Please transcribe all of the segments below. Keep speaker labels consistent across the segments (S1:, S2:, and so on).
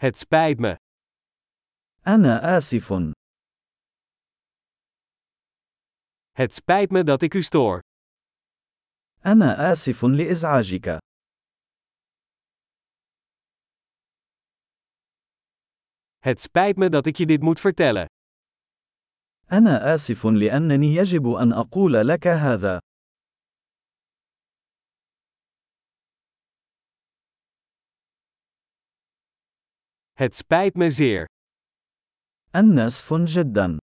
S1: Het spijt me.
S2: أنا آسف.
S1: Het spijt me dat ik u stoor.
S2: أنا آسف لإزعاجك.
S1: Het spijt me dat ik je dit moet vertellen.
S2: أنا آسف لأنني يجب أن أقول لك هذا.
S1: Het spijt me zeer.
S2: أنا آسف جدا.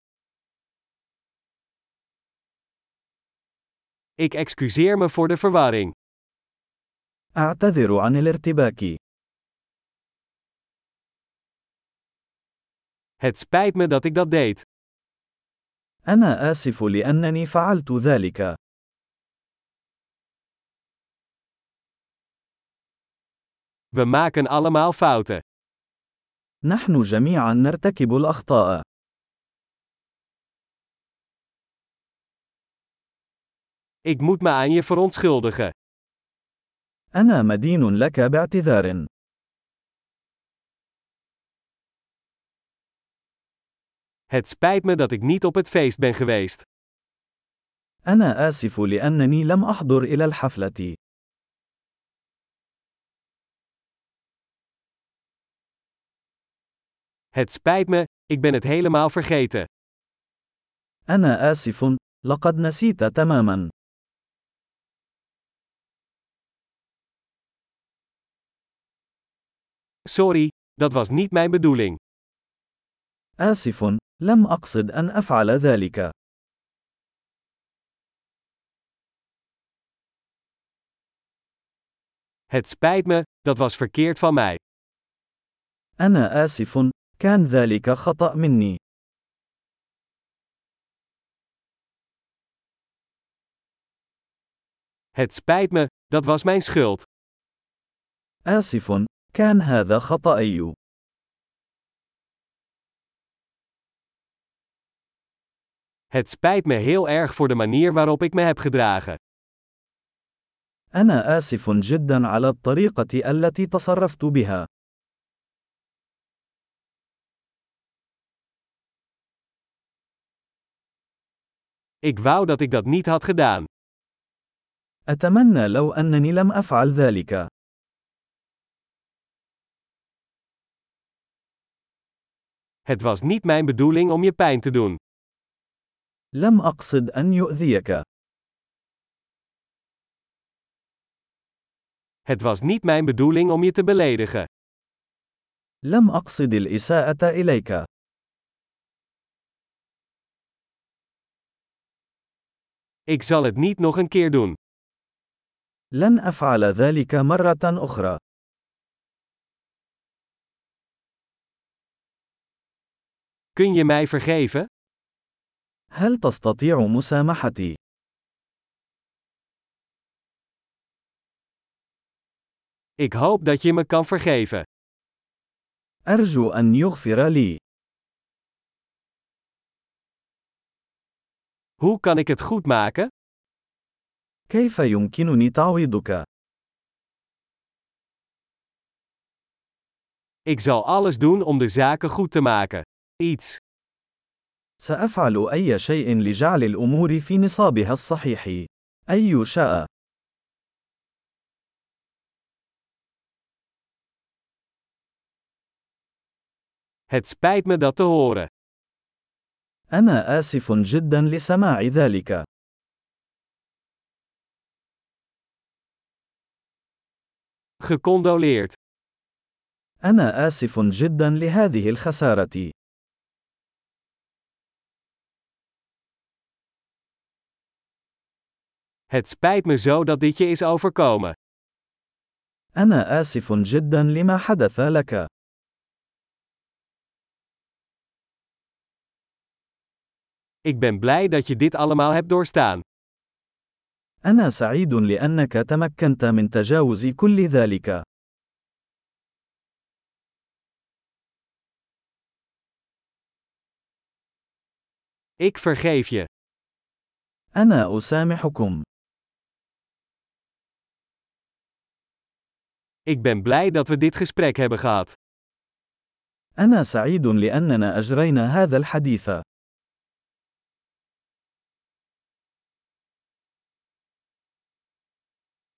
S1: Ik excuseer me voor de verwarring.
S2: أعتذر عن الارتباك.
S1: Het spijt me dat ik dat deed.
S2: أنا آسف لأنني فعلت ذلك.
S1: We maken allemaal fouten.
S2: نحن جميعا نرتكب الأخطاء.
S1: Ik moet me aan je verontschuldigen.
S2: أنا مدين لك باعتذار.
S1: Het spijt me dat ik niet op het feest ben geweest.
S2: أنا آسف لأنني لم أحضر إلى الحفلة.
S1: Het spijt me, ik ben het helemaal vergeten.
S2: أنا آسف. لقد نسيت تماما.
S1: Sorry, dat was niet mijn bedoeling.
S2: آسف. لم أقصد أن أفعل ذلك.
S1: Het spijt me, dat was verkeerd van mij.
S2: أنا آسف. كان ذلك خطأ مني.
S1: Het spijt me, dat was mijn schuld.
S2: آسف. كان هذا خطأي.
S1: Het spijt me heel erg voor de manier waarop ik me heb gedragen.
S2: أنا آسف جدا على الطريقة التي تصرفت بها.
S1: Ik wou dat ik dat niet had gedaan.
S2: أتمنى لو أنني لم أفعل ذلك.
S1: Het was niet mijn bedoeling om je pijn te doen.
S2: لم أقصد أن يؤذيك.
S1: Het was niet mijn bedoeling om je te beledigen.
S2: لم أقصد الإساءة إليك.
S1: Ik zal het niet nog een keer doen.
S2: لن أفعل ذلك مرة أخرى.
S1: Kun je mij vergeven?
S2: هل تستطيع مسامحتي؟
S1: Ik hoop dat je me kan vergeven.
S2: أرجو أن يغفر لي.
S1: Hoe kan ik het goed maken?
S2: كيف يمكنني تعويضك؟
S1: Ik zal alles doen om de zaken goed te maken. Iets.
S2: سأفعل أي شيء لجعل الأمور في نصابها الصحيح. أي شاء.
S1: Het spijt me dat te horen.
S2: أنا آسف جدا لسماع ذلك.
S1: Gecondoleerd.
S2: أنا آسف جدا لهذه الخسارة.
S1: Het spijt me zo dat dit je is overkomen.
S2: أنا آسف جدا لما حدث لك.
S1: Ik ben blij dat je dit allemaal hebt doorstaan.
S2: أنا سعيد لأنك تمكنت من تجاوز كل ذلك.
S1: Ik vergeef je.
S2: أنا أسامحكم.
S1: Ik ben blij dat we dit gesprek hebben gehad.
S2: أنا سعيد لأننا أجرينا هذا الحديث.